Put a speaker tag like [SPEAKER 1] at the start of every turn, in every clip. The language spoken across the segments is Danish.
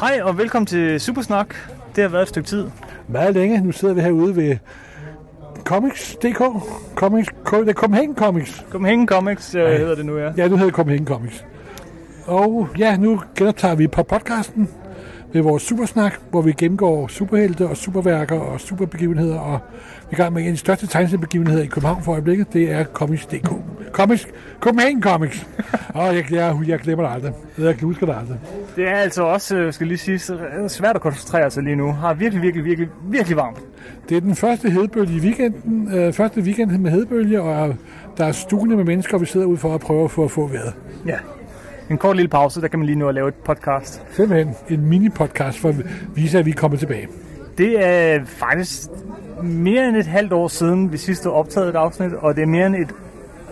[SPEAKER 1] Hej og velkommen til Supersnak. Det har været et stykke tid.
[SPEAKER 2] meget længe. Nu sidder vi herude ved Comics.dk. Comics, Co- det er Copenhagen Comics.
[SPEAKER 1] Copenhagen Comics øh, hedder det nu, ja.
[SPEAKER 2] Ja, nu hedder det Copenhagen Comics. Og ja, nu genoptager vi på podcasten med vores supersnak, hvor vi gennemgår superhelte og superværker og superbegivenheder. Og vi er i gang med en af de største tegneseriebegivenheder i København for øjeblikket. Det er Comics.dk. Comics, Copenhagen Comics. og jeg, jeg, jeg glemmer det aldrig. Jeg husker det aldrig.
[SPEAKER 1] Det er altså også, øh, skal lige sige, så- svært at koncentrere sig lige nu. Har virkelig, virkelig, virkelig, virkelig varmt.
[SPEAKER 2] Det er den første hedebølge i weekenden, øh, første weekend med hedebølge, og øh, der er stuende med mennesker, og vi sidder ude for at prøve at få, at få vejret.
[SPEAKER 1] Ja. En kort lille pause, der kan man lige nå at lave et podcast.
[SPEAKER 2] Simpelthen en mini-podcast for at vise, at vi er kommet tilbage.
[SPEAKER 1] Det er faktisk mere end et halvt år siden, vi sidst har optaget et afsnit, og det er mere end et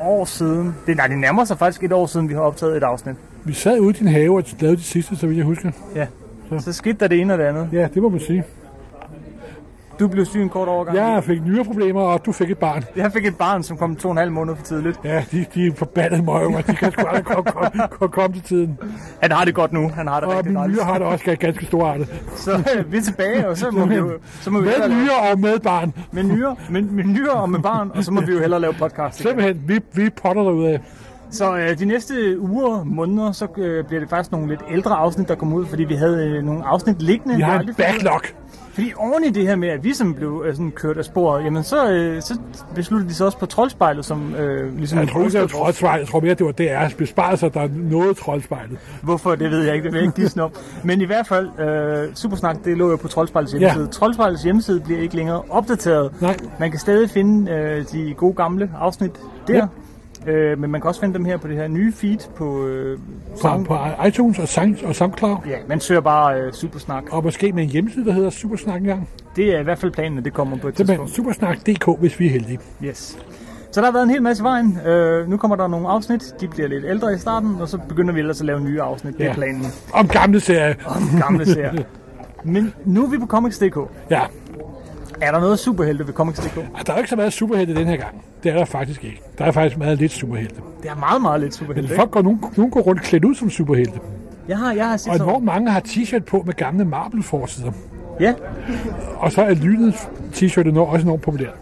[SPEAKER 1] år siden. Det, nej, det nærmer sig faktisk et år siden, vi har optaget et afsnit.
[SPEAKER 2] Vi sad ude i din have og lavede det sidste, så vidt jeg husker.
[SPEAKER 1] Ja. Så skete der det ene og det andet.
[SPEAKER 2] Ja, det må man sige.
[SPEAKER 1] Du blev syg en kort overgang.
[SPEAKER 2] Jeg fik nyere problemer, og du fik et barn.
[SPEAKER 1] Jeg fik et barn, som kom to og en halv måned for tidligt.
[SPEAKER 2] Ja, de, de er forbandede møgunger. De kan sgu aldrig komme, komme, komme, komme til tiden.
[SPEAKER 1] Han har det godt nu. Han har det
[SPEAKER 2] Og
[SPEAKER 1] rigtig
[SPEAKER 2] mine
[SPEAKER 1] godt.
[SPEAKER 2] nyere har det også gans- ganske stor artet.
[SPEAKER 1] Så øh, vi er tilbage, og så må vi jo... Så må vi
[SPEAKER 2] Med
[SPEAKER 1] hellere lave-
[SPEAKER 2] nyere og med barn.
[SPEAKER 1] med nyere, med, med nyere og med barn, og så må vi jo hellere lave podcast. igen.
[SPEAKER 2] Simpelthen, vi, vi potter derudad.
[SPEAKER 1] Så øh, de næste uger, måneder, så øh, bliver det faktisk nogle lidt ældre afsnit, der kommer ud, fordi vi havde øh, nogle afsnit liggende.
[SPEAKER 2] Vi har en
[SPEAKER 1] aldrig fået ud af.
[SPEAKER 2] backlog.
[SPEAKER 1] Fordi oven i det her med, at vi som blev øh, sådan kørt af sporet, jamen så, øh, så besluttede de sig også på troldspejlet, som øh, ligesom...
[SPEAKER 2] Jeg tror ikke, det var
[SPEAKER 1] booster-
[SPEAKER 2] troldspejlet. Jeg tror mere, det var DR's besparelser, der nåede troldspejlet.
[SPEAKER 1] Hvorfor, det ved jeg ikke, det vil jeg ikke gisne om. Men i hvert fald, øh, Supersnak, det lå jo på Troldspejlets hjemmeside. Ja. Troldspejlets hjemmeside bliver ikke længere opdateret.
[SPEAKER 2] Nej.
[SPEAKER 1] Man kan stadig finde øh, de gode gamle afsnit der. Ja. Øh, men man kan også finde dem her på det her nye feed på... Øh,
[SPEAKER 2] På,
[SPEAKER 1] Sound-
[SPEAKER 2] på iTunes og, Sound, og SoundCloud.
[SPEAKER 1] Ja, man søger bare øh, Supersnak.
[SPEAKER 2] Og måske med en hjemmeside, der hedder Supersnak engang.
[SPEAKER 1] Det er i hvert fald planen, at det kommer på et
[SPEAKER 2] Det er
[SPEAKER 1] tidspunkt.
[SPEAKER 2] supersnak.dk, hvis vi er heldige.
[SPEAKER 1] Yes. Så der har været en hel masse i vejen. Øh, nu kommer der nogle afsnit. De bliver lidt ældre i starten, og så begynder vi ellers at lave nye afsnit. Det er
[SPEAKER 2] Ja.
[SPEAKER 1] planen.
[SPEAKER 2] Om gamle serier.
[SPEAKER 1] Gamle serier. Men nu er vi på Comics.dk.
[SPEAKER 2] Ja,
[SPEAKER 1] Er der noget superhelte ved Comics.dk?
[SPEAKER 2] og der er jo ikke så meget superhelte den her gang. Det er der faktisk ikke. Der er faktisk meget lidt superhelte.
[SPEAKER 1] Det er meget, meget lidt
[SPEAKER 2] Men
[SPEAKER 1] superhelte.
[SPEAKER 2] folk går, nogen, nogen går rundt klædt ud som superhelte.
[SPEAKER 1] ikke? Jeg har, jeg har set
[SPEAKER 2] Og
[SPEAKER 1] sådan...
[SPEAKER 2] hvor mange har t-shirt på med gamle Marvel-forsider.
[SPEAKER 1] Ja.
[SPEAKER 2] Og så er lynet t-shirtet nok også enormt populært.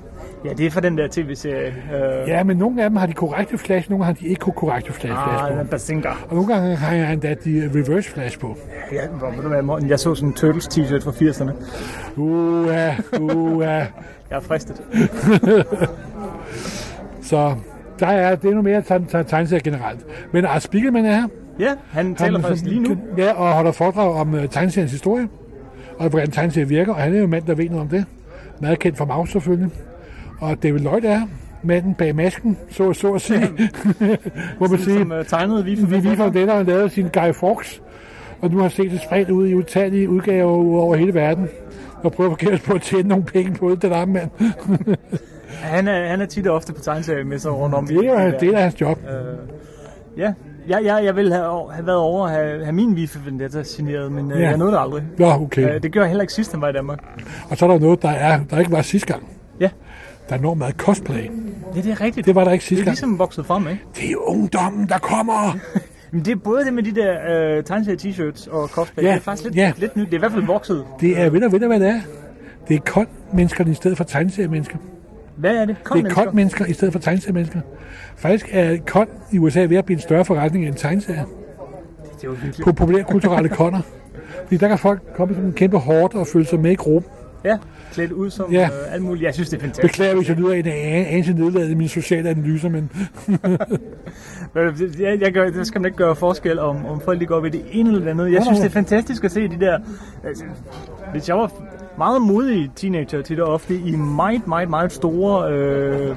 [SPEAKER 1] ja, det er fra den der tv-serie. Øh,
[SPEAKER 2] Ja, men nogle af dem har de korrekte flash, nogle har de ikke korrekte flash, flash
[SPEAKER 1] ah,
[SPEAKER 2] på.
[SPEAKER 1] den Bazinga.
[SPEAKER 2] Og nogle gange har jeg endda de reverse flash på.
[SPEAKER 1] Ja, hvor ved du hvad, Morten? Jeg så sådan en Turtles t-shirt fra 80'erne.
[SPEAKER 2] Uh, uh,
[SPEAKER 1] Jeg er fristet.
[SPEAKER 2] Så der er, det er noget mere teg- teg- tegneserier generelt. Men Art Spiegelman er her.
[SPEAKER 1] Ja, han taler
[SPEAKER 2] Han-
[SPEAKER 1] faktisk lige nu.
[SPEAKER 2] Ja, og holder foredrag om uh, tegneseriens historie, og hvordan tegneserier virker, og han er jo en mand, der ved noget om det. Meget kendt for Maus selvfølgelig. Og David Lloyd er manden bag masken, så, så at sige. Må man sige,
[SPEAKER 1] Som øh, tegnede vi for
[SPEAKER 2] vi viser den, der har lavet sin Guy Fawkes, og nu har set det spredt ud i utallige udgaver ud over hele verden og prøver at forkert på at tjene nogle penge på det, den arme mand.
[SPEAKER 1] Han er, han er tit og ofte på tegneserie med sig rundt om. i
[SPEAKER 2] Det er,
[SPEAKER 1] verden.
[SPEAKER 2] jo- det er hans job.
[SPEAKER 1] Ja, ja, ja jeg ville have, have været over at have, have min Vifa Vendetta signeret, men øh,
[SPEAKER 2] Ja.
[SPEAKER 1] jeg nåede det aldrig.
[SPEAKER 2] Nå, okay.
[SPEAKER 1] Øh, det gjorde jeg heller ikke sidst, han var i Danmark.
[SPEAKER 2] Og så er der noget, der, er, der ikke var sidste gang.
[SPEAKER 1] Ja,
[SPEAKER 2] Der er enormt meget cosplay.
[SPEAKER 1] ja det er rigtigt.
[SPEAKER 2] Det var der ikke
[SPEAKER 1] det
[SPEAKER 2] sidste
[SPEAKER 1] er
[SPEAKER 2] gang.
[SPEAKER 1] ligesom vokset frem, ikke?
[SPEAKER 2] Det er ungdommen, der kommer.
[SPEAKER 1] Men det er både det med de der øh, tegneserie-t-shirts og cosplay.
[SPEAKER 2] Ja,
[SPEAKER 1] Det er faktisk lidt,
[SPEAKER 2] ja.
[SPEAKER 1] lidt nyt. Det er i hvert fald vokset.
[SPEAKER 2] Det er, ved du, ved du, hvad det er? Det er kold mennesker i stedet for tegneseriemennesker.
[SPEAKER 1] Hvad er det? Kom,
[SPEAKER 2] Det er kold mennesker i stedet for tegneseriemennesker. Faktisk er kold i USA ved at blive en større forretning end tegneserier.
[SPEAKER 1] Det er jo hyggeligt.
[SPEAKER 2] På populære kulturelle konder. Fordi der kan folk komme som en kæmpe hårdt og føle sig med i gruppen.
[SPEAKER 1] Ja, klædt ud som
[SPEAKER 2] Ja.
[SPEAKER 1] øh, alt muligt. Jeg synes, det er fantastisk.
[SPEAKER 2] Beklager, hvis jeg lyder en an- anelse nedladet i mine sociale analyser, men
[SPEAKER 1] Øh, Jeg, jeg gør, der skal man ikke gøre forskel, om, om folk de går ved det ene eller det andet. Jeg synes, det er fantastisk at se de der... Altså, hvis jeg var meget modig teenager tit og ofte i meget, meget, meget store øh,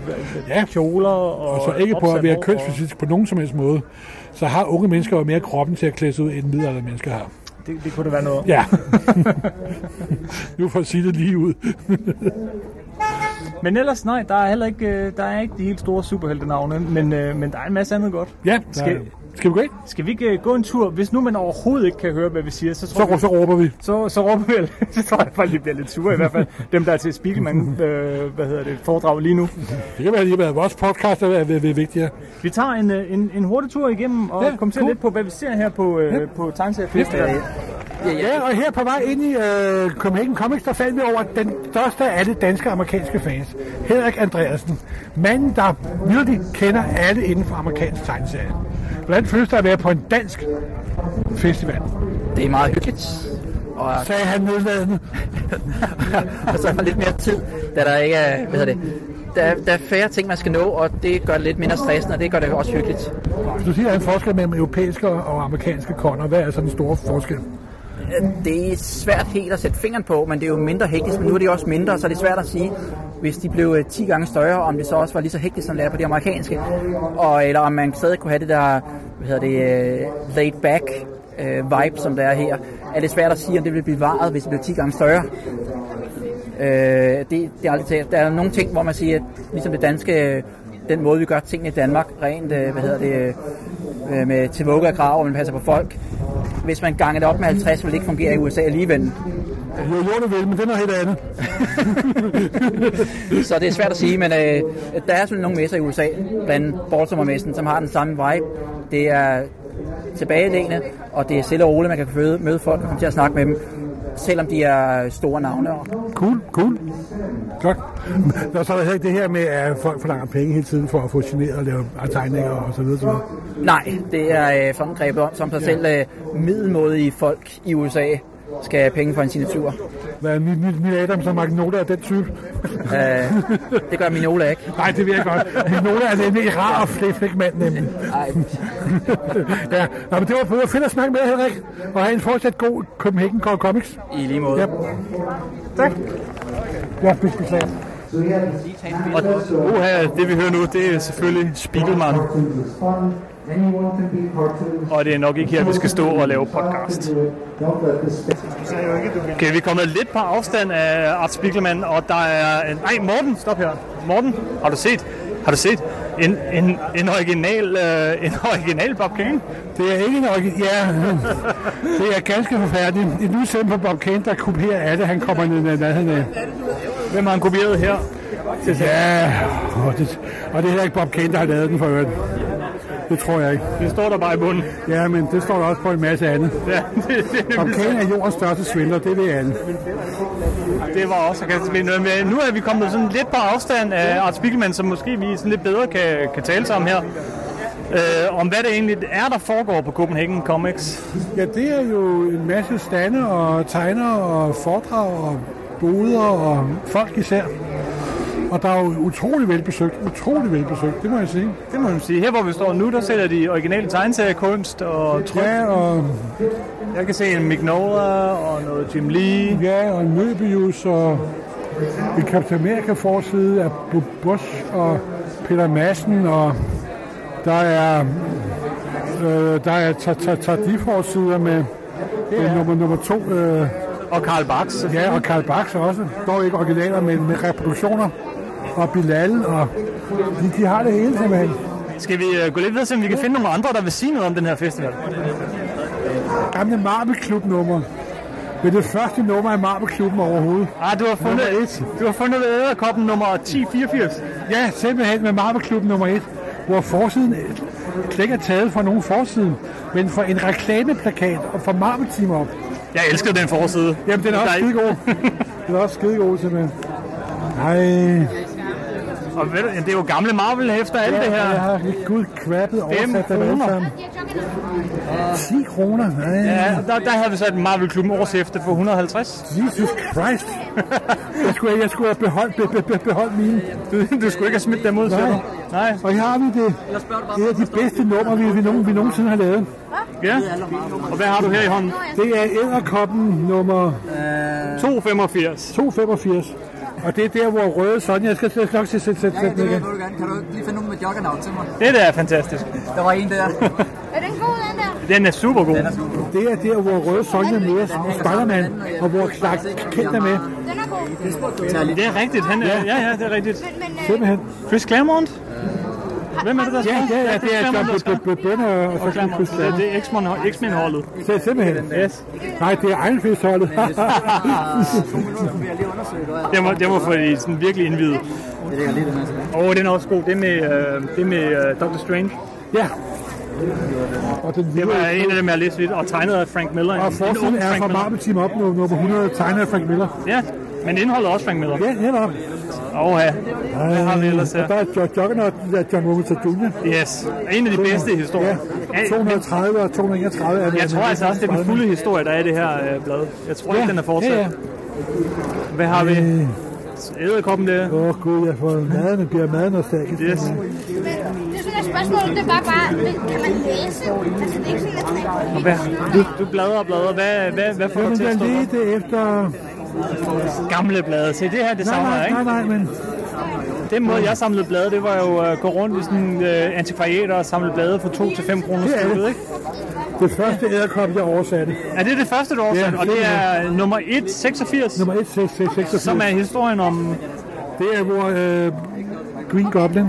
[SPEAKER 2] Ja.
[SPEAKER 1] kjoler og
[SPEAKER 2] og så ikke på at
[SPEAKER 1] opsat
[SPEAKER 2] være
[SPEAKER 1] hår og-
[SPEAKER 2] kønsfysisk på nogen som helst måde, så har unge mennesker jo mere kroppen til at klæde sig ud, end middelaldrende mennesker har.
[SPEAKER 1] Det, det kunne da være noget.
[SPEAKER 2] Ja. nu for at sige det lige ud.
[SPEAKER 1] Men ellers nej, der er heller ikke, øh, der er ikke de helt store superheltenavne, men, øh, men der er en masse andet godt.
[SPEAKER 2] Ja,
[SPEAKER 1] Skal-
[SPEAKER 2] skal, skal vi gå ind?
[SPEAKER 1] Skal vi ikke øh, gå en tur? Hvis nu man overhovedet ikke kan høre, hvad vi siger, så tror
[SPEAKER 2] Så,
[SPEAKER 1] jeg,
[SPEAKER 2] rå- så råber vi.
[SPEAKER 1] så, så råber vi, så tror jeg faktisk, de bliver lidt sure i hvert fald. Dem, der er til Spiegelman, øh, hvad hedder det, foredrag lige nu.
[SPEAKER 2] Det kan være, at det har været vores podcast, der er været været vigtigere.
[SPEAKER 1] Vi tager en, øh, en, en hurtig tur igennem og ja,
[SPEAKER 2] Ja,
[SPEAKER 1] kommer til
[SPEAKER 2] cool.
[SPEAKER 1] lidt på, hvad vi ser her på, øh, på Tegnseriefestivalen.
[SPEAKER 2] Ja, ja. ja, og her på vej ind i øh, Copenhagen Comics, der faldt vi over den største af det danske amerikanske fans, Henrik Andreasen. Manden, der virkelig kender alle inden for amerikansk tegneserie. Hvordan føles det at være på en dansk festival?
[SPEAKER 3] Det er meget hyggeligt.
[SPEAKER 2] Og... Sagde han nedladende.
[SPEAKER 3] og så er der lidt mere tid, da der ikke er, hvad hedder det, der, er- der er færre ting, man skal nå, og det gør det lidt mindre stressende, og det gør det også hyggeligt.
[SPEAKER 2] Hvis du siger, at der er en forskel mellem europæiske og amerikanske konger, hvad er så den store forskel?
[SPEAKER 3] Det er svært helt at sætte fingeren på, men det er jo mindre hektisk, men nu er det jo også mindre, så det er svært at sige, hvis de blev øh, 10 gange større, om det så også var lige så hektisk, som det er på de amerikanske, og, eller om man stadig kunne have det der, hvad hedder det, uh, laid back uh, vibe, som der er her. Er det svært at sige, om det ville blive varet, hvis det blev 10 gange større? Øh, det, det er aldrig talt. Der er nogle ting, hvor man siger, at ligesom det danske, øh, den måde vi gør tingene i Danmark, rent, øh, hvad hedder det, øh, med til vugge og krav, og man passer på folk. Hvis man ganger det op med 50, vil det ikke fungere i USA alligevel.
[SPEAKER 2] Jo, jo, det vil, men det er noget helt andet.
[SPEAKER 3] Så det er svært at sige, men øh, der er selvfølgelig nogle messer i USA, blandt Baltimore-messen, som har den samme vibe. Det er tilbagelæne, og det er stille og roligt, man kan føde- møde folk og komme til at snakke med dem, selvom de er store navne og
[SPEAKER 2] Cool, cool. Godt. Nå, så er der heller ikke det her med, at folk forlanger penge hele tiden for at få generet og lave tegninger og så videre. Så videre.
[SPEAKER 3] Nej, det er øh, sådan grebet om, som sig selv øh, middelmådige folk i USA skal have penge for en signatur.
[SPEAKER 2] Hvad er mit, mit, mit Adams og Magnolia af den type?
[SPEAKER 3] Øh, det gør Minola ikke.
[SPEAKER 2] Nej, det vil jeg godt. Magnolia er nemlig rar og flæflæk mand, nemlig.
[SPEAKER 3] Nej,
[SPEAKER 2] ja, Nå, men det var fedt- fedt at snakke med dig, Henrik. Og have en fortsat god Copenhagen Call Comics.
[SPEAKER 3] i lige måde.
[SPEAKER 2] Ja. Tak. Ja, beklager.
[SPEAKER 3] Og
[SPEAKER 1] Uha, det vi hører nu, det er selvfølgelig Spiegelman.
[SPEAKER 4] Og det er nok ikke her, vi skal stå og lave podcast.
[SPEAKER 1] Okay, vi er kommet lidt på afstand af Art Spiegelman, og der er en... Ej, Morten, stop her. Morten, har du set? Har du set? En, en, en original, øh, en original Bob Kane?
[SPEAKER 2] Det er ikke nok. Ja, det er ganske forfærdeligt. Et nyt eksempel på Bob Kane, der kopierer alle, han kommer ned i nærheden af.
[SPEAKER 1] Hvem har han kopieret her?
[SPEAKER 2] Ja, og det, og det er heller ikke Bob Kane, der har lavet den for øvrigt. Det tror jeg ikke.
[SPEAKER 1] Det står der bare i bunden.
[SPEAKER 2] Ja, men det står der også på en masse andet.
[SPEAKER 1] Ja, det, det,
[SPEAKER 2] Bob Kane er jordens største svindler, det ved alle.
[SPEAKER 1] det var også sarkastisk ment, men øh, nu er vi kommet sådan lidt på afstand af Art Spiegelman, så måske vi sådan lidt bedre kan, kan tale sammen her. Øh, om hvad det egentlig er, der foregår på Copenhagen Comics.
[SPEAKER 2] Ja, det er jo en masse stande og tegner og foredrag og boder og folk især. Og der er jo utrolig velbesøgt, utrolig velbesøgt, det må jeg sige.
[SPEAKER 1] Det må man sige. Her hvor vi står nu, der sælger de originale tegneseriekunst og tryk.
[SPEAKER 2] Ja, og,
[SPEAKER 1] Jeg kan se en Mignola og noget Jim Lee.
[SPEAKER 2] ja, og en Møbius og en Captain America forside af Bob Bush og Peter Madsen og der er øh, der er Tardi forsider med, med nummer, nummer to øh,
[SPEAKER 1] Og Karl Bax.
[SPEAKER 2] Ja, og Karl Bax også. Dog ikke originaler, men med reproduktioner. Og Bilal, og de, de har det hele simpelthen.
[SPEAKER 1] Skal vi øh, gå lidt videre, og se om vi kan finde nogle andre, der vil sige noget om den her festival?
[SPEAKER 2] Gamle Marbeklub-nummer. Det er det første nummer af Marbeklubben overhovedet.
[SPEAKER 1] Ah, du har fundet et. Du har fundet æderkoppen nummer 1084.
[SPEAKER 2] Ja, simpelthen med Marbeklubben nummer 1, hvor forsiden slet ikke er taget fra nogen forsiden, men fra en reklameplakat og fra Marble-team op.
[SPEAKER 1] Jeg elsker den forside.
[SPEAKER 2] Jamen, den er også
[SPEAKER 1] Der-
[SPEAKER 2] skidegod. Den er også skidegod, simpelthen. Nej,
[SPEAKER 1] Og ved du, det er jo gamle Marvel-hæfter, alt det
[SPEAKER 2] jeg
[SPEAKER 1] her.
[SPEAKER 2] har gud crappet oversat dem alle
[SPEAKER 1] kroner.
[SPEAKER 2] sammen. 10 kroner, nej.
[SPEAKER 1] Ja, der, der havde vi så et Marvel-klubben årshæfte for 150.
[SPEAKER 2] Jesus Christ. Jeg skulle, jeg skulle have beholdt, be, be, be, beholdt mine.
[SPEAKER 1] Du, du skulle ikke have smidt dem ud, siger du? Nej.
[SPEAKER 2] Og her har vi det. Det er de bedste numre, vi, vi, nogen, vi nogensinde har lavet.
[SPEAKER 1] Ja. Og hvad har du her i hånden?
[SPEAKER 2] Det er æderkoppen nummer
[SPEAKER 1] 285.
[SPEAKER 2] 285. Og det er der, hvor røde Sonja... Jeg skal jeg skal nok sætte sæt, sæt,
[SPEAKER 5] Ja,
[SPEAKER 2] sæt,
[SPEAKER 5] det vil jeg
[SPEAKER 2] igen.
[SPEAKER 5] godt gerne. Kan du ikke lige finde nogen med joggernaut til mig?
[SPEAKER 1] Det der er fantastisk.
[SPEAKER 5] Der var en der.
[SPEAKER 6] Er den god, den der?
[SPEAKER 1] Den er super god.
[SPEAKER 2] Det er der, hvor røde Sonja møder Spiderman, og hvor Clark Kent er med.
[SPEAKER 6] Den er god.
[SPEAKER 1] Det er rigtigt. Han er, ja, ja, det er rigtigt.
[SPEAKER 6] Men, men øh,
[SPEAKER 2] Simpelthen.
[SPEAKER 1] Chris Claremont? Hvem er det, der
[SPEAKER 2] Ja, ja, ja, det er John
[SPEAKER 1] Chris
[SPEAKER 2] B- B- Ben og, og så Knud
[SPEAKER 1] Claremont. Det er,
[SPEAKER 2] Christian.
[SPEAKER 1] det er X-Men- X-Men-holdet.
[SPEAKER 2] Det er simpelthen.
[SPEAKER 1] Yes.
[SPEAKER 2] Nej, det er Ejnfjeldsholdet.
[SPEAKER 5] To minutter, kunne vi lige undersøge. Det
[SPEAKER 1] Det må, det må få det sådan virkelig indvidet.
[SPEAKER 5] ligger lige den her tilbage.
[SPEAKER 1] Åh, oh, den er også god. Det er med, øh, det er med øh, Doctor Strange.
[SPEAKER 2] ja, Og den
[SPEAKER 1] Det var
[SPEAKER 2] lyder ikke
[SPEAKER 1] en af dem, jeg læste lidt, og tegnet af Frank Miller.
[SPEAKER 2] noget.
[SPEAKER 1] En-
[SPEAKER 2] og forsiden
[SPEAKER 1] en ung
[SPEAKER 2] er
[SPEAKER 1] Frank
[SPEAKER 2] fra
[SPEAKER 1] Miller.
[SPEAKER 2] Marble Team op, nu- nummer 100, tegnet af Frank Miller.
[SPEAKER 1] Ja, men indholdet er også Frank Miller.
[SPEAKER 2] Ja, netop.
[SPEAKER 1] Og ja, hvad har vi ellers
[SPEAKER 2] Og der
[SPEAKER 1] her?
[SPEAKER 2] er George Juggernaut, der er John Wilkinson Jr.
[SPEAKER 1] Yes, en af de bedste historier.
[SPEAKER 2] Ja, 230 og 231 er det.
[SPEAKER 1] Jeg tror altså også, det er den fulde historie, der er i det her øh, blad. Jeg tror ikke, den er
[SPEAKER 2] Ja, ja. Øh.
[SPEAKER 1] fortsat. Hvad har vi? Æderkoppen der.
[SPEAKER 2] Åh oh, gud, jeg får maden, det bliver maden og stakken.
[SPEAKER 1] Yes.
[SPEAKER 6] Men det synes jeg spørgsmålet, det var bare, men kan man læse? Altså, det er ikke sådan, at man
[SPEAKER 1] Hvad? Du, du bladrer og bladrer. Hvad, hvad, hvad får du
[SPEAKER 2] Jamen,
[SPEAKER 1] til
[SPEAKER 2] jeg
[SPEAKER 1] at stå der?
[SPEAKER 2] ledte efter...
[SPEAKER 1] Gamle blade. Se, det her, det
[SPEAKER 2] Nej,
[SPEAKER 1] savner jeg,
[SPEAKER 2] nej,
[SPEAKER 1] ikke?
[SPEAKER 2] nej, nej, men...
[SPEAKER 1] Den måde, jeg samlede blade, det var jo at gå rundt i sådan øh, antikvariater og samle blade for 2 til 5 kroner
[SPEAKER 2] Det er
[SPEAKER 1] stykket,
[SPEAKER 2] det.
[SPEAKER 1] ikke?
[SPEAKER 2] Det første æderkop, jeg oversatte,
[SPEAKER 1] Er det det første, du oversat?
[SPEAKER 2] Ja,
[SPEAKER 1] og det er øh, nummer 1, 86,
[SPEAKER 2] nummer 1686,
[SPEAKER 1] som er historien om...
[SPEAKER 2] det er, hvor øh, Green Goblin,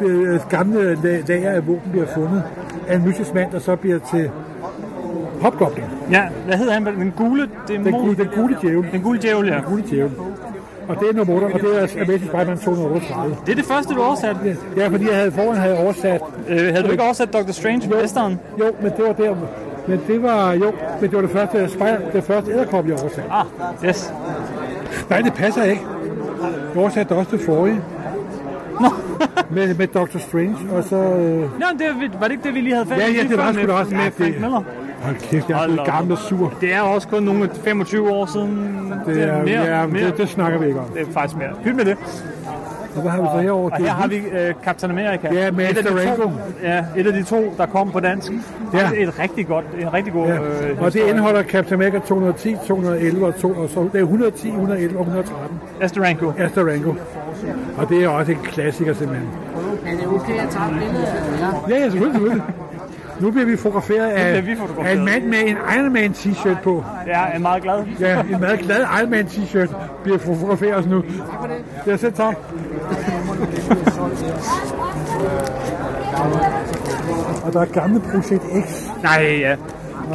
[SPEAKER 2] øh, gamle la- lager af våben, bliver fundet af en mystisk mand, der så bliver til Hopgoblin.
[SPEAKER 1] Ja, hvad hedder han? Den gule
[SPEAKER 2] Den,
[SPEAKER 1] dæmon?
[SPEAKER 2] gule, den gule djævel.
[SPEAKER 1] Den gule djævel, ja.
[SPEAKER 2] Den gule djævel. Og det er nummer 8, og det er altså Amazing Spider-Man 238.
[SPEAKER 1] Det er det første, du oversat.
[SPEAKER 2] Ja, fordi jeg havde foran havde jeg oversat
[SPEAKER 1] Øh, havde du ikke oversat Dr. Strange på Western?
[SPEAKER 2] Jo, men det var der. Men det var jo, men det var det første spejl, det første æderkop, jeg oversatte.
[SPEAKER 1] Ah, yes.
[SPEAKER 2] Nej, det passer ikke. Jeg oversatte også det forrige. Nå. med, med Dr. Strange, og så... Øh,
[SPEAKER 1] Nå, men det, var det ikke det, vi lige havde fat
[SPEAKER 2] ja,
[SPEAKER 1] i
[SPEAKER 2] ja,
[SPEAKER 1] lige
[SPEAKER 2] det
[SPEAKER 1] før
[SPEAKER 2] var sgu
[SPEAKER 1] med-
[SPEAKER 2] da også...
[SPEAKER 1] med
[SPEAKER 2] ja,
[SPEAKER 1] Frank
[SPEAKER 2] det-
[SPEAKER 1] Miller?
[SPEAKER 2] Hold kæft, jeg er
[SPEAKER 1] Hold
[SPEAKER 2] blevet
[SPEAKER 1] op.
[SPEAKER 2] gammel og sur.
[SPEAKER 1] Det er også kun nogle 25 år siden.
[SPEAKER 2] Det, er, ja, det, det, snakker vi ikke om.
[SPEAKER 1] det er faktisk mere. Hyld med det.
[SPEAKER 2] Og hvad har vi så herovre?
[SPEAKER 1] Og
[SPEAKER 2] Det
[SPEAKER 1] her
[SPEAKER 2] er
[SPEAKER 1] har vi øh, Captain America.
[SPEAKER 2] Ja, med
[SPEAKER 1] et af, de
[SPEAKER 2] Esterego.
[SPEAKER 1] to, ja, et af de to, der kom på dansk.
[SPEAKER 2] Ja.
[SPEAKER 1] Ja. Et rigtig godt, en rigtig god... øh,
[SPEAKER 2] Ja. Og det
[SPEAKER 1] historie.
[SPEAKER 2] indeholder Captain America 210, 211 og, to, og så, det er 110, 111 og 113.
[SPEAKER 1] Asterenko. Ja.
[SPEAKER 2] Asta Rango. Og det er også en klassiker simpelthen.
[SPEAKER 5] Men det er okay, jeg tager et billede af jer.
[SPEAKER 2] Ja, ja, selvfølgelig, selvfølgelig. Nu bliver vi fotograferet af,
[SPEAKER 1] bliver vi fotograferet.
[SPEAKER 2] af en mand med en Iron Man t-shirt på.
[SPEAKER 1] Jeg er meget glad.
[SPEAKER 2] Ja, en meget glad Iron Man t-shirt bliver fotograferet nu. Ja, selv tak. Og der er gamle Projekt X.
[SPEAKER 1] Nej, ja.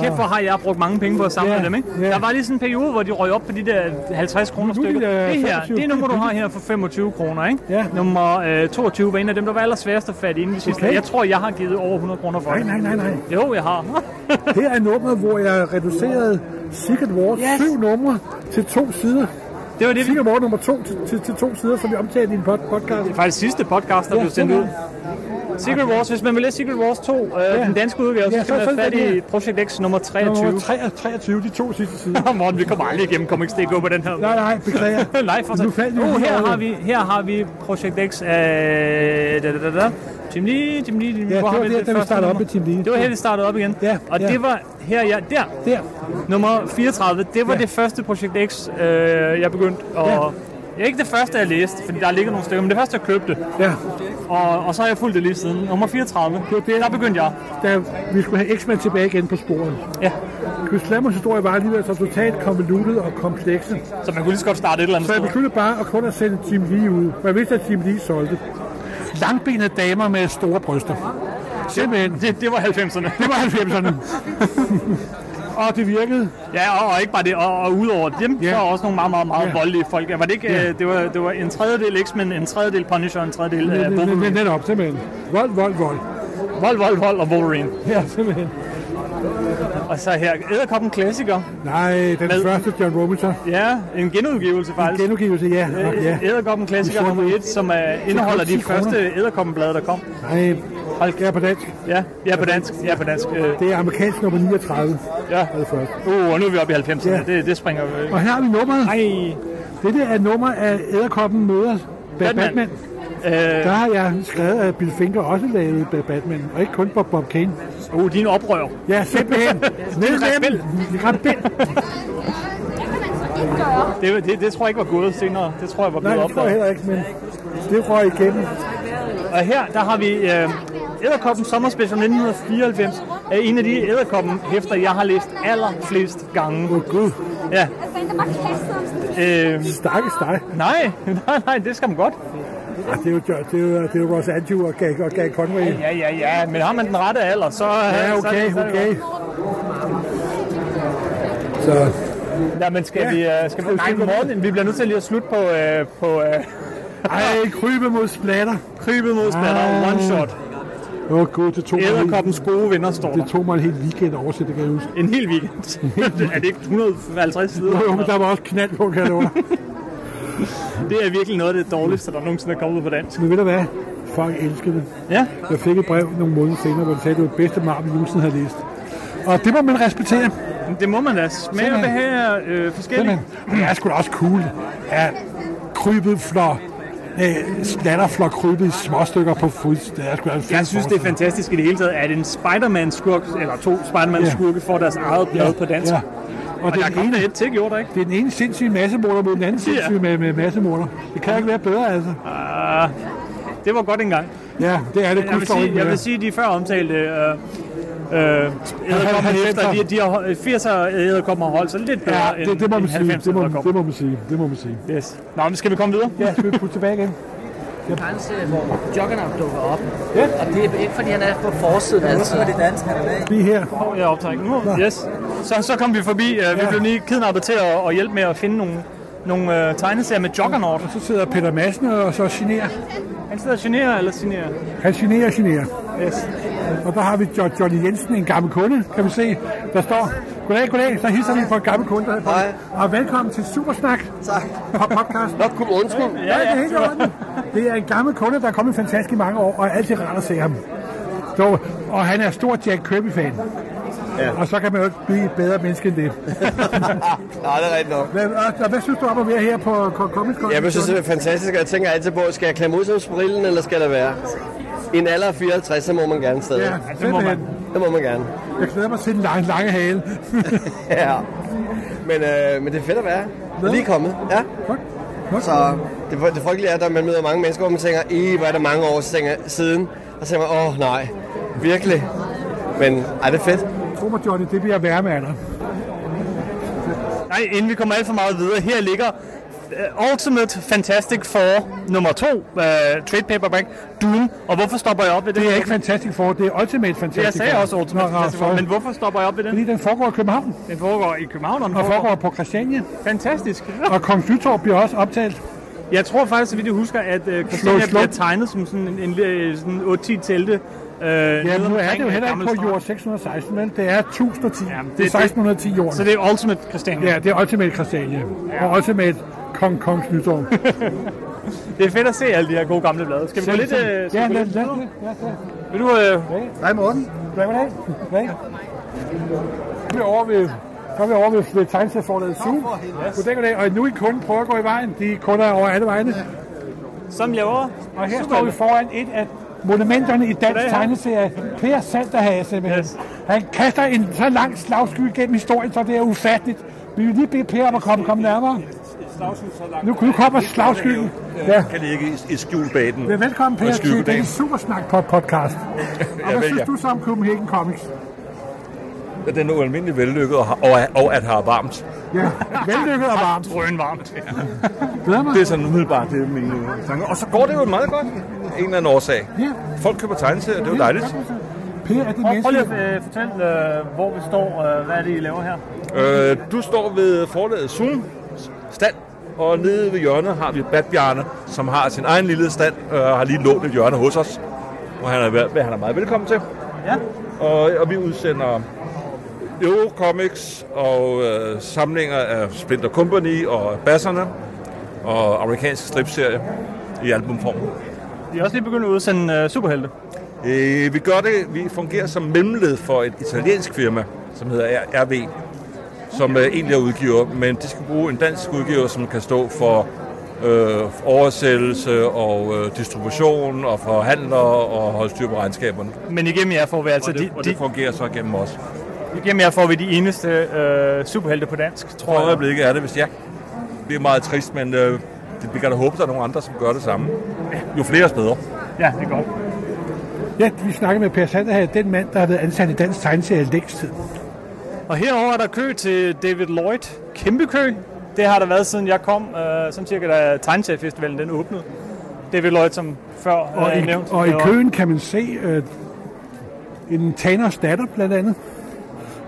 [SPEAKER 1] Kæft, hvor har jeg brugt mange penge på at samle
[SPEAKER 2] Ja,
[SPEAKER 1] dem, ikke?
[SPEAKER 2] ja.
[SPEAKER 1] Der var lige sådan en periode, hvor de røg op på de der 50 kroner
[SPEAKER 2] Nu er de
[SPEAKER 1] stykker.
[SPEAKER 2] der
[SPEAKER 1] Det her,
[SPEAKER 2] 25.
[SPEAKER 1] det nummer, du har her for 25 kroner, ikke?
[SPEAKER 2] Ja.
[SPEAKER 1] Nummer øh, 22 var en af dem, der var allersværest at fatte inden i sidste.
[SPEAKER 2] Okay.
[SPEAKER 1] Jeg tror, jeg har givet over 100 kroner for
[SPEAKER 2] Nej,
[SPEAKER 1] det.
[SPEAKER 2] nej, nej, nej.
[SPEAKER 1] Jo, jeg har.
[SPEAKER 2] Her er nummeret, hvor jeg reducerede Secret Wars yes. syv numre til to sider.
[SPEAKER 1] det var det, vi
[SPEAKER 2] Secret Wars nummer to til, til, til to sider, som vi omtalte i en pod- podcast.
[SPEAKER 1] faktisk sidste podcast, der
[SPEAKER 2] Ja,
[SPEAKER 1] blev sendt
[SPEAKER 2] det
[SPEAKER 1] ud.
[SPEAKER 2] var
[SPEAKER 1] Secret Wars, hvis man vil læse Secret Wars 2, øh, den danske udgave,
[SPEAKER 2] Ja,
[SPEAKER 1] så
[SPEAKER 2] så
[SPEAKER 1] skal man
[SPEAKER 2] følg
[SPEAKER 1] have fat
[SPEAKER 2] den her.
[SPEAKER 1] i Project X nummer 23.
[SPEAKER 2] Nummer 23, de to sidste sider.
[SPEAKER 1] Morten, vi kommer aldrig igennem Comic Stick på den her.
[SPEAKER 2] Nej, nej, beklager.
[SPEAKER 1] Nej, for
[SPEAKER 2] Nu faldt vi
[SPEAKER 1] oh,
[SPEAKER 2] lige
[SPEAKER 1] her
[SPEAKER 2] over
[SPEAKER 1] har
[SPEAKER 2] det.
[SPEAKER 1] vi, her har vi Project X af... Da, da, da, da. Tim Lee, Tim Lee, Tim
[SPEAKER 2] Ja, det
[SPEAKER 1] har
[SPEAKER 2] var
[SPEAKER 1] vi
[SPEAKER 2] der, da vi
[SPEAKER 1] første
[SPEAKER 2] startede op
[SPEAKER 1] nummer?
[SPEAKER 2] med Team Lee.
[SPEAKER 1] Det var her, vi startede op igen.
[SPEAKER 2] Ja,
[SPEAKER 1] og
[SPEAKER 2] ja.
[SPEAKER 1] det var her, ja, der,
[SPEAKER 2] Der.
[SPEAKER 1] nummer 34, det var
[SPEAKER 2] Ja.
[SPEAKER 1] det første Project X, øh, jeg begyndte at... Ja. Ikke det første, jeg læste, fordi der ligger nogle stykker, men det første, jeg købte.
[SPEAKER 2] Ja,
[SPEAKER 1] Og, og så har jeg fulgt det lige siden. Nummer 34,
[SPEAKER 2] var det.
[SPEAKER 1] der begyndte jeg.
[SPEAKER 2] da vi skulle have X-Men tilbage igen på sporet.
[SPEAKER 1] Ja.
[SPEAKER 2] Chris Lammers historie var alligevel så totalt konvolutet og komplekse,
[SPEAKER 1] Så man kunne lige så godt starte et eller andet
[SPEAKER 2] så jeg
[SPEAKER 1] sted.
[SPEAKER 2] besluttede bare at kun at sende Team Lee ud. Man vidste, at Team Lee solgte. Langbenede damer med store bryster. Simpelthen.
[SPEAKER 1] Det, det var 90'erne.
[SPEAKER 2] Det var 90'erne. og det virkede.
[SPEAKER 1] Ja, og, og ikke bare det, og, og udover dem,
[SPEAKER 2] Ja.
[SPEAKER 1] yeah. så er også nogle meget, meget, meget
[SPEAKER 2] Ja.
[SPEAKER 1] yeah. voldelige folk. Var det ikke,
[SPEAKER 2] Ja.
[SPEAKER 1] yeah. det, var, det var en tredjedel X-Men, en tredjedel Punisher, en tredjedel
[SPEAKER 2] Men-
[SPEAKER 1] uh,
[SPEAKER 2] men- men- men
[SPEAKER 1] Wolverine.
[SPEAKER 2] Netop, simpelthen. Vold, vold, vold.
[SPEAKER 1] Vold, vold, vold og Wolverine.
[SPEAKER 2] Ja, simpelthen.
[SPEAKER 1] Og så her, Æderkoppen Klassiker.
[SPEAKER 2] Nej, den
[SPEAKER 1] Med-
[SPEAKER 2] første John Robinson.
[SPEAKER 1] Ja, en genudgivelse faktisk.
[SPEAKER 2] Genudgivelse, ja. nok, ja.
[SPEAKER 1] Æderkoppen Klassiker
[SPEAKER 2] Vi får
[SPEAKER 1] nummer
[SPEAKER 2] den.
[SPEAKER 1] 1, som uh, indeholder
[SPEAKER 2] kun
[SPEAKER 1] de
[SPEAKER 2] 10 kroner.
[SPEAKER 1] første Æderkoppenblade, der kom.
[SPEAKER 2] Nej, hold kære på dansk.
[SPEAKER 1] Ja, ja på dansk. Ja, på dansk. Øh,
[SPEAKER 2] Det er amerikansk nummer 39.
[SPEAKER 1] ja.
[SPEAKER 2] var det første.
[SPEAKER 1] Uh, og nu er vi oppe i 90'erne.
[SPEAKER 2] Ja.
[SPEAKER 1] Yeah. Det, det springer vi.
[SPEAKER 2] Og her har vi nummeret.
[SPEAKER 1] Ej,
[SPEAKER 2] Dette er et nummer af Æderkoppen møder Batman. Batman.
[SPEAKER 1] Batman.
[SPEAKER 2] Der har jeg skrevet, at Bill Finger også lavede Ba- Batman, og ikke kun Bob, Bob Kane.
[SPEAKER 1] uh, din oprør.
[SPEAKER 2] Ja, simpelthen. Ned med dem.
[SPEAKER 1] rebel.
[SPEAKER 2] Rebel.
[SPEAKER 6] Hvad kan man så ikke gøre?
[SPEAKER 1] Det, det, det, tror jeg ikke var gået senere. Det tror jeg var
[SPEAKER 2] Nej,
[SPEAKER 1] blevet
[SPEAKER 2] det tror jeg
[SPEAKER 1] opdaget.
[SPEAKER 2] heller ikke, men det røg igennem.
[SPEAKER 1] Og her, der har vi øh, Æderkoppen Sommerspecial 1994. Er en af de Æderkoppen hæfter, jeg har læst allerflest gange.
[SPEAKER 2] Åh gud,
[SPEAKER 1] Ja,
[SPEAKER 6] Altså, der er bare kastet om sådan en
[SPEAKER 1] øh,
[SPEAKER 2] stakkes dig.
[SPEAKER 1] nej, nej, nej, det skal man godt.
[SPEAKER 2] Ja, det er jo, det er jo, det er jo Ross Andrew og Gag, og Gag Conway.
[SPEAKER 1] Ja, ja, ja, men har man den rette alder, så...
[SPEAKER 2] Ja,
[SPEAKER 1] så-
[SPEAKER 2] okay,
[SPEAKER 1] så-
[SPEAKER 2] okay. Så,
[SPEAKER 1] Ja, men skal vi... Øh, skal vi nej, morgen, vi bliver nødt til lige at slutte på... Øh, på øh,
[SPEAKER 2] ej, krybe mod splatter.
[SPEAKER 1] krybet mod spatter,
[SPEAKER 2] Ah.
[SPEAKER 1] one shot.
[SPEAKER 2] Åh oh, gud, det tog, mig en hel,
[SPEAKER 1] Æderkoppens gode venner står der.
[SPEAKER 2] det tog mig en hel weekend at oversætte, det kan jeg huske.
[SPEAKER 1] En hel weekend. er det ikke 150 sider?
[SPEAKER 2] Jo, jo, men der var også knald på, kan jeg love dig.
[SPEAKER 1] Det er virkelig noget af det dårligste, der nogensinde er kommet ud på dansk.
[SPEAKER 2] Men ved du hvad? Folk elskede det.
[SPEAKER 1] Ja,
[SPEAKER 2] Jeg fik et brev nogle måneder senere, hvor de sagde, at det var det bedste Marvel, jeg nogensinde havde læst. Og det må man respektere.
[SPEAKER 1] men det må man da. Smag og
[SPEAKER 2] Simpelthen.
[SPEAKER 1] behag er øh,
[SPEAKER 2] Men
[SPEAKER 1] forskelligt.
[SPEAKER 2] det er sgu da også cool, at krybet flår øh, slatterflår krybet i små stykker på fod. Det er sgu da en fed
[SPEAKER 1] Jeg synes, det er
[SPEAKER 2] forestilling.
[SPEAKER 1] fantastisk i det hele taget, at en Spider-Man-skurk, eller to Spider-Man-skurke, får deres eget blad på dansk.
[SPEAKER 2] Ja. Og
[SPEAKER 1] Og
[SPEAKER 2] det
[SPEAKER 1] der er
[SPEAKER 2] er, den ene,
[SPEAKER 1] kommet et til, gjorde der ikke?
[SPEAKER 2] det er den ene sindssyge massemorder mod den anden sindssyge med, med massemorder. Det kan ikke være bedre, altså.
[SPEAKER 1] Det var godt engang.
[SPEAKER 2] Ja, det er det.
[SPEAKER 1] Jeg
[SPEAKER 2] Gud
[SPEAKER 1] vil
[SPEAKER 2] står
[SPEAKER 1] sige,
[SPEAKER 2] ikke
[SPEAKER 1] jeg
[SPEAKER 2] mere.
[SPEAKER 1] vil sige de før omtalte øh, øh, æderkoppen efter,
[SPEAKER 2] halvfemser.
[SPEAKER 1] de, de har, 80'er æderkoppen har holdt sig lidt bedre
[SPEAKER 2] Ja, det, det, må
[SPEAKER 1] end,
[SPEAKER 2] man
[SPEAKER 1] end
[SPEAKER 2] sige.
[SPEAKER 1] 90'er
[SPEAKER 2] Det må, det
[SPEAKER 1] edderkoppen.
[SPEAKER 2] må man sige. Det må man sige.
[SPEAKER 1] Yes. Nå, men skal vi komme videre?
[SPEAKER 2] Ja, skal vi putte tilbage igen?
[SPEAKER 5] grænse, hvor Juggernaut dukker op. Og det er ikke, fordi han er på forsiden altid. Det er
[SPEAKER 2] Lige her.
[SPEAKER 1] Jeg optager ikke nu. Yes. Så, så kom vi forbi. øh, Vi
[SPEAKER 2] Ja.
[SPEAKER 1] blev lige kidnappet til at, at hjælpe med at finde nogle, nogle øh, tegneserier med Juggernaut.
[SPEAKER 2] Så sidder Peter Madsen og så generer.
[SPEAKER 1] Han sidder og generer eller generer?
[SPEAKER 2] Han generer, generer.
[SPEAKER 1] Yes.
[SPEAKER 2] Og der har vi Jo- Johnny Jensen, en gammel kunde, kan vi se, der står. Goddag, goddag. Så hilser vi på en gammel kunde. Der Hej. Og velkommen til Supersnak. Tak. På podcasten.
[SPEAKER 7] Nå, kom, undskyld.
[SPEAKER 2] Ja, det er helt i orden. Det er en gammel kunde, der er kommet fantastisk i mange år, og er altid rart at se ham. Så, og han er stor Jack Kirby-fan. Ja. Og så kan man jo ikke blive et bedre menneske end det.
[SPEAKER 7] Nej, det er rigtigt nok.
[SPEAKER 2] Hvad, og, og hvad synes du om at være her på Ko- Comic Con?
[SPEAKER 7] Jeg synes, det er fantastisk, og jeg tænker altid på, skal jeg klemme ud som sprillen, eller skal der være? I en alder af 54, så må man gerne stadig.
[SPEAKER 2] Ja,
[SPEAKER 7] Ja.
[SPEAKER 2] det må man.
[SPEAKER 7] Det må man gerne.
[SPEAKER 2] Jeg glæder mig til den lange, lange hale.
[SPEAKER 7] Ja. Men, øh, men det er fedt at være. Jeg er lige kommet. Ja.
[SPEAKER 2] Godt. Godt.
[SPEAKER 7] Så det, fry- det frygtelige er, at man møder mange mennesker, hvor man tænker, i hvor er der mange år tænker- siden. Og så tænker man, åh oh, nej, virkelig. Men ej, det er fedt.
[SPEAKER 2] Tro mig, Johnny, det bliver værre med andre.
[SPEAKER 1] Nej, inden vi kommer alt for meget videre, her ligger øh, Ultimate Fantastic Four nummer 2, uh, trade paperback, Doom. Og hvorfor stopper jeg op ved det?
[SPEAKER 2] Det er ikke Fantastic Four, det er Ultimate Fantastic
[SPEAKER 1] jeg sagde
[SPEAKER 2] Four.
[SPEAKER 1] også Ultimate
[SPEAKER 2] Nå, nå,
[SPEAKER 1] Fantastic Four,
[SPEAKER 2] sorry.
[SPEAKER 1] men hvorfor stopper jeg op ved
[SPEAKER 2] Fordi
[SPEAKER 1] den?
[SPEAKER 2] den foregår i København,
[SPEAKER 1] Den foregår i København, og den
[SPEAKER 2] og
[SPEAKER 1] foregår
[SPEAKER 2] foregår på Christiania.
[SPEAKER 1] fantastisk.
[SPEAKER 2] Og Kongens Nytorv bliver også optalt.
[SPEAKER 1] Jeg tror faktisk, at vi husker, at øh, Christiania
[SPEAKER 2] slå.
[SPEAKER 1] bliver tegnet som sådan en, en, øh, sådan 8-10 telte. Øh,
[SPEAKER 2] Ja,
[SPEAKER 1] nede
[SPEAKER 2] nu er
[SPEAKER 1] omkring,
[SPEAKER 2] det jo
[SPEAKER 1] øh,
[SPEAKER 2] heller
[SPEAKER 1] Gammel
[SPEAKER 2] ikke på
[SPEAKER 1] Strand.
[SPEAKER 2] jord 616, men det er 1010.
[SPEAKER 1] Jamen, det-
[SPEAKER 2] det, det er 1610 jorden.
[SPEAKER 1] Så det er Ultimate Christiania.
[SPEAKER 2] Ja, det er Ultimate Christiania. Og Ultimate Kong Kongens Nytorv.
[SPEAKER 1] Det er fedt at se alle de her gode gamle blade. Skal vi gå lidt... Øh, skal
[SPEAKER 2] ja,
[SPEAKER 1] vi gå
[SPEAKER 2] lad
[SPEAKER 1] lidt
[SPEAKER 2] lad
[SPEAKER 1] videre?
[SPEAKER 2] det. Ja, ja.
[SPEAKER 1] Vil du... Øh,
[SPEAKER 7] Hej Morten.
[SPEAKER 2] Hvad med det? Hvad? Vi er over ved så er vi over ved, ved tegneserieforlaget Zoom. Goddag, goddag. Og nu er I kun prøver at gå i vejen. De er kunder over alle vejene.
[SPEAKER 1] som laver...
[SPEAKER 2] Og her står vi foran et af monumenterne i dansk
[SPEAKER 1] Goddag.
[SPEAKER 2] tegneserie. Per Sanderhase, med
[SPEAKER 1] Yes.
[SPEAKER 2] yes. Han kaster en så lang slagsky gennem historien, så det er ufatteligt. Vi vil lige bede Per om at komme, komme nærmere. Nu, nu kommer slagskyen. Ja.
[SPEAKER 8] kan ligge i- i skjul bag den.
[SPEAKER 2] Velkommen Per
[SPEAKER 8] Og skyde
[SPEAKER 2] til
[SPEAKER 8] goddag.
[SPEAKER 2] denne Supersnak på podcast. Og hvad
[SPEAKER 8] vel,
[SPEAKER 2] synes
[SPEAKER 8] ja.
[SPEAKER 2] du så om Copenhagen Comics?
[SPEAKER 8] Den er ualmindelig vellykket og, har- og, er- og at har varmt.
[SPEAKER 2] Ja, vellykket og varmt.
[SPEAKER 1] Drøn varmt.
[SPEAKER 2] Glæder mig.
[SPEAKER 8] Det er sådan umiddelbart, det er min øh, tanke. Og så går det jo meget godt. af En eller anden årsag.
[SPEAKER 2] Ja.
[SPEAKER 8] Folk køber tegneserier, det er jo dejligt.
[SPEAKER 2] Per, er det
[SPEAKER 1] Prøv, prøv
[SPEAKER 2] menneske?
[SPEAKER 1] lige at øh, fortælle, øh, hvor vi står, øh, hvad er det, I laver her?
[SPEAKER 8] Øh, du står ved forlaget Zoom stand, og nede ved hjørnet har vi Batbjarne, som har sin egen lille stand, øh, og har lige lånt et hjørne hos os. Og han er, vel- han er meget velkommen til.
[SPEAKER 1] Ja.
[SPEAKER 8] Og, og vi udsender Eurocomics og øh, samlinger af Splinter Company og Basserne og amerikanske stripserier i albumform.
[SPEAKER 1] Vi er også lige begyndt at udsende øh, superhelte.
[SPEAKER 8] Øh, vi gør det, vi fungerer som mellemled for et italiensk firma, som hedder R- RV, som øh, egentlig er udgiver, men de skal bruge en dansk udgiver, som kan stå for øh, oversættelse og øh, distribution og forhandler og holde styr på regnskaberne.
[SPEAKER 1] Men igennem jer får vi altså
[SPEAKER 8] Og det, og
[SPEAKER 1] de,
[SPEAKER 8] det fungerer så gennem os.
[SPEAKER 1] de, igennem jer får vi de eneste øh, superhelte på dansk,
[SPEAKER 8] For
[SPEAKER 1] tror jeg.
[SPEAKER 8] øjeblikket er det, hvis jeg... Det er meget trist, men øh, det, vi kan da håbe, der er nogle andre, som gør det samme. Jo flere, jo bedre.
[SPEAKER 1] Ja, det er godt.
[SPEAKER 2] Ja, vi snakker med Per Sanderhage, den mand, der har været ansat i dansk tegneserie længst tid.
[SPEAKER 1] Og herover er der kø til David Lloyd. Kæmpe kø. Det har der været siden jeg kom, øh, sådan cirka da Tegnseriefestivalen den åbnede. David Lloyd, som før
[SPEAKER 2] Og,
[SPEAKER 1] øh,
[SPEAKER 2] i,
[SPEAKER 1] nævnt.
[SPEAKER 2] og i
[SPEAKER 1] laver-
[SPEAKER 2] køen kan man se øh, en Thanos datter, blandt andet.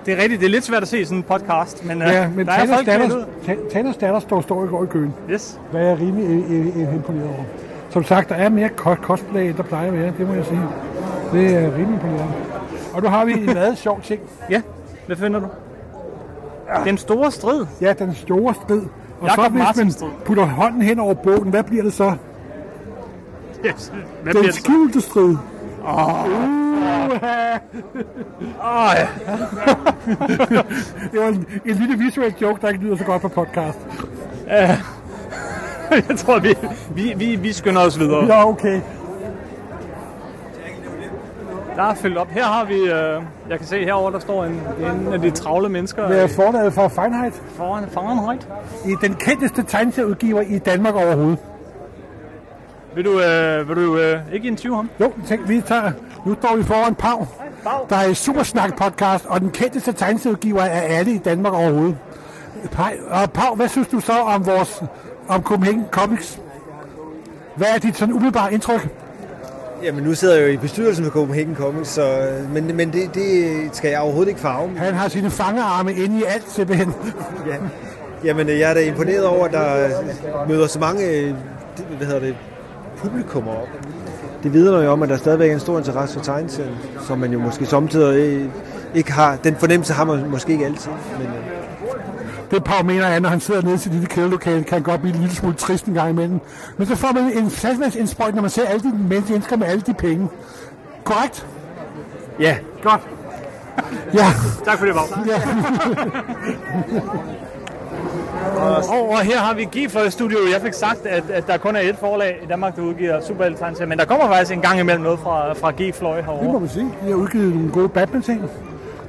[SPEAKER 1] Det er rigtigt, det er lidt svært at se i sådan en podcast, men, øh,
[SPEAKER 2] Ja, men
[SPEAKER 1] der er
[SPEAKER 2] Thanos
[SPEAKER 1] folk klædt
[SPEAKER 2] datter,
[SPEAKER 1] ud.
[SPEAKER 2] Ta- Thanos datter står, står i går i køen,
[SPEAKER 1] Yes.
[SPEAKER 2] hvad jeg er rimelig øh, øh, øh, imponeret over. Som sagt, der er mere ko- cosplay, end der plejer at være, det må jeg sige. Det er rimelig imponerende. Og nu har vi en meget sjov ting.
[SPEAKER 1] Ja, hvad finder du? Den store strid.
[SPEAKER 2] Ja, den store strid. Og
[SPEAKER 1] Jakob
[SPEAKER 2] så hvis man
[SPEAKER 1] Martins strid.
[SPEAKER 2] putter hånden hen over bogen, hvad bliver det så?
[SPEAKER 1] Yes. Hvad bliver
[SPEAKER 2] Den
[SPEAKER 1] det?
[SPEAKER 2] skjulte strid.
[SPEAKER 1] Åh, ja.
[SPEAKER 2] Det var en, en lille visuel joke, der ikke lyder så godt på podcast.
[SPEAKER 1] Jeg tror, vi, vi, vi, vi skynder os videre.
[SPEAKER 2] Ja, okay.
[SPEAKER 1] Der er fyldt op. Her har vi, øh, jeg kan se herover der står en, en af de travle mennesker
[SPEAKER 2] Det er
[SPEAKER 1] øh,
[SPEAKER 2] forlaget fra Fahrenheit.
[SPEAKER 1] foran foran højt.
[SPEAKER 2] I den kendteste tegneserieudgiver i Danmark overhovedet.
[SPEAKER 1] Vil du, øh, vil du øh, ikke interviewe ham?
[SPEAKER 2] Jo, tænk, vi tager... Nu står vi foran Pav, der er et Supersnak-podcast, og den kendteste tegneserieudgiver af alle i Danmark overhovedet. Hej, og Pav, hvad synes du så om vores... om Copenhagen Comics? Hvad er dit sådan umiddelbare indtryk?
[SPEAKER 4] Jamen, nu sidder jeg jo i bestyrelsen for Copenhagen Comics, så, men, men det, det skal jeg overhovedet ikke farve.
[SPEAKER 2] Han har sine fangerarme inde i alt, simpelthen.
[SPEAKER 4] Ja. Jamen, jeg er da imponeret over, at der møder så mange øh, det- hvad hedder det, publikummer op. Det vidner jo om, at der stadigvæk er en stor interesse for tegneserien, som man jo måske samtidig øh, ikke har. Den fornemmelse har man måske ikke altid. Men, øh,
[SPEAKER 2] Det Pau mener er, når han sidder nede i sit lille kælderlokale, kan han godt blive en lille smule trist en gang imellem. Men så får man en flasmandsindsprøjt, når man ser alle de mennesker med alle de penge. Korrekt?
[SPEAKER 1] Ja. Godt.
[SPEAKER 2] Ja.
[SPEAKER 1] Tak for det, Vagn.
[SPEAKER 2] ja.
[SPEAKER 1] Og, og her har vi G4 Studio. Jeg fik sagt, at, at der kun er et forlag i Danmark, der udgiver superhelte men der kommer faktisk en gang imellem noget fra, fra G-Fløj
[SPEAKER 2] Det må
[SPEAKER 1] herovre.
[SPEAKER 2] man sige. De har udgivet nogle gode Batman-ting.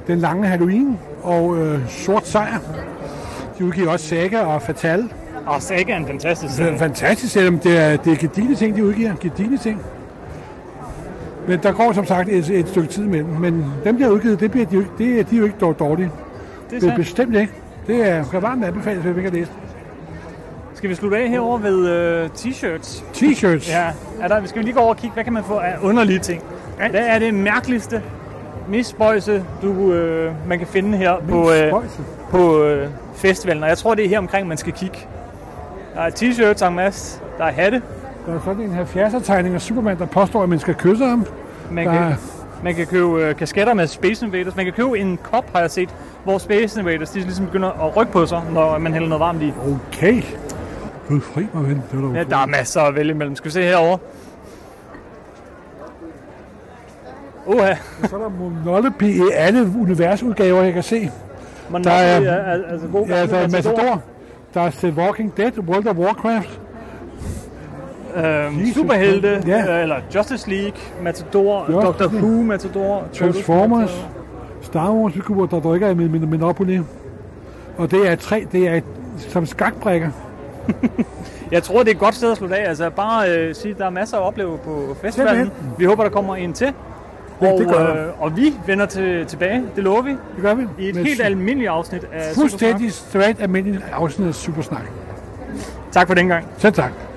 [SPEAKER 2] Den lange Halloween og øh, Sort Sejr. De udgiver også Saga og Fatal.
[SPEAKER 1] Og Saga er en fantastisk øh,
[SPEAKER 2] Det er
[SPEAKER 1] serie.
[SPEAKER 2] fantastisk, selvom det er, det er gedigende ting, de udgiver. Gedigende ting. Men der går som sagt et, et stykke tid imellem. Men dem, der er udgivet, det bliver de, jo ikke, det, er- de er jo ikke dår- dårlige.
[SPEAKER 1] Det er
[SPEAKER 2] Det er
[SPEAKER 1] sandt.
[SPEAKER 2] bestemt ikke. Det er, kan varmt anbefales, hvis vi ikke har læst.
[SPEAKER 1] Skal vi slutte af herover ved øh, t-shirts?
[SPEAKER 2] T-shirts. Ja.
[SPEAKER 1] Ja, er der, skal vi lige gå over og kigge, hvad kan man få af underlige ting? Hvad er det mærkeligste, mest spøjse, du, øh, man kan finde her på, øh, på øh, festivalen? Og jeg tror, det er her omkring, man skal kigge. Der er t-shirts en masse, der er hatte,
[SPEAKER 2] Der er sådan en 70'er-tegning af Superman, der påstår, at man skal kysse ham.
[SPEAKER 1] man
[SPEAKER 2] Der
[SPEAKER 1] kan,
[SPEAKER 2] er,
[SPEAKER 1] man kan købe øh, kasketter med Space Invaders, man kan købe en kop, har jeg set, hvor Space Invaders de ligesom begynder at rykke på sig, når man hælder noget varmt i.
[SPEAKER 2] okay. Gud, fri mig, ven. Det var da
[SPEAKER 1] Ja, der er masser at vælge imellem. Skal vi se herover. Oha,
[SPEAKER 2] Så er der Monolopy i alle universudgaver, jeg kan se.
[SPEAKER 1] man
[SPEAKER 2] Der er-
[SPEAKER 1] er, er, altså god
[SPEAKER 2] Ja, der er
[SPEAKER 1] gammel Matador.
[SPEAKER 2] Matador, der er The Walking Dead, World of Warcraft,
[SPEAKER 1] Øhm,
[SPEAKER 2] Jesus.
[SPEAKER 1] superhelte,
[SPEAKER 2] Ja.
[SPEAKER 1] øh, eller Justice League, Matador,
[SPEAKER 2] Justice
[SPEAKER 1] Doctor
[SPEAKER 2] League.
[SPEAKER 1] Who, Matador,
[SPEAKER 2] Transformers, Star Wars figurer, der drykker i min, min, min Og det er tre, det er som skakbrækker.
[SPEAKER 1] Jeg tror, det er et godt sted at slutte af. Altså bare øh, sige, at der er masser at opleve på festivalen.
[SPEAKER 2] Simpelthen.
[SPEAKER 1] Vi håber, der kommer en til.
[SPEAKER 2] Det-
[SPEAKER 1] og,
[SPEAKER 2] det gør der.
[SPEAKER 1] øh, og vi vender til, tilbage, det lover vi,
[SPEAKER 2] Det gør vi.
[SPEAKER 1] i et
[SPEAKER 2] Med
[SPEAKER 1] helt
[SPEAKER 2] su-
[SPEAKER 1] almindeligt afsnit af Supersnak.
[SPEAKER 2] Fuldstændig straight almindelig afsnit af Supersnak.
[SPEAKER 1] Tak for den gang.
[SPEAKER 2] Selv tak.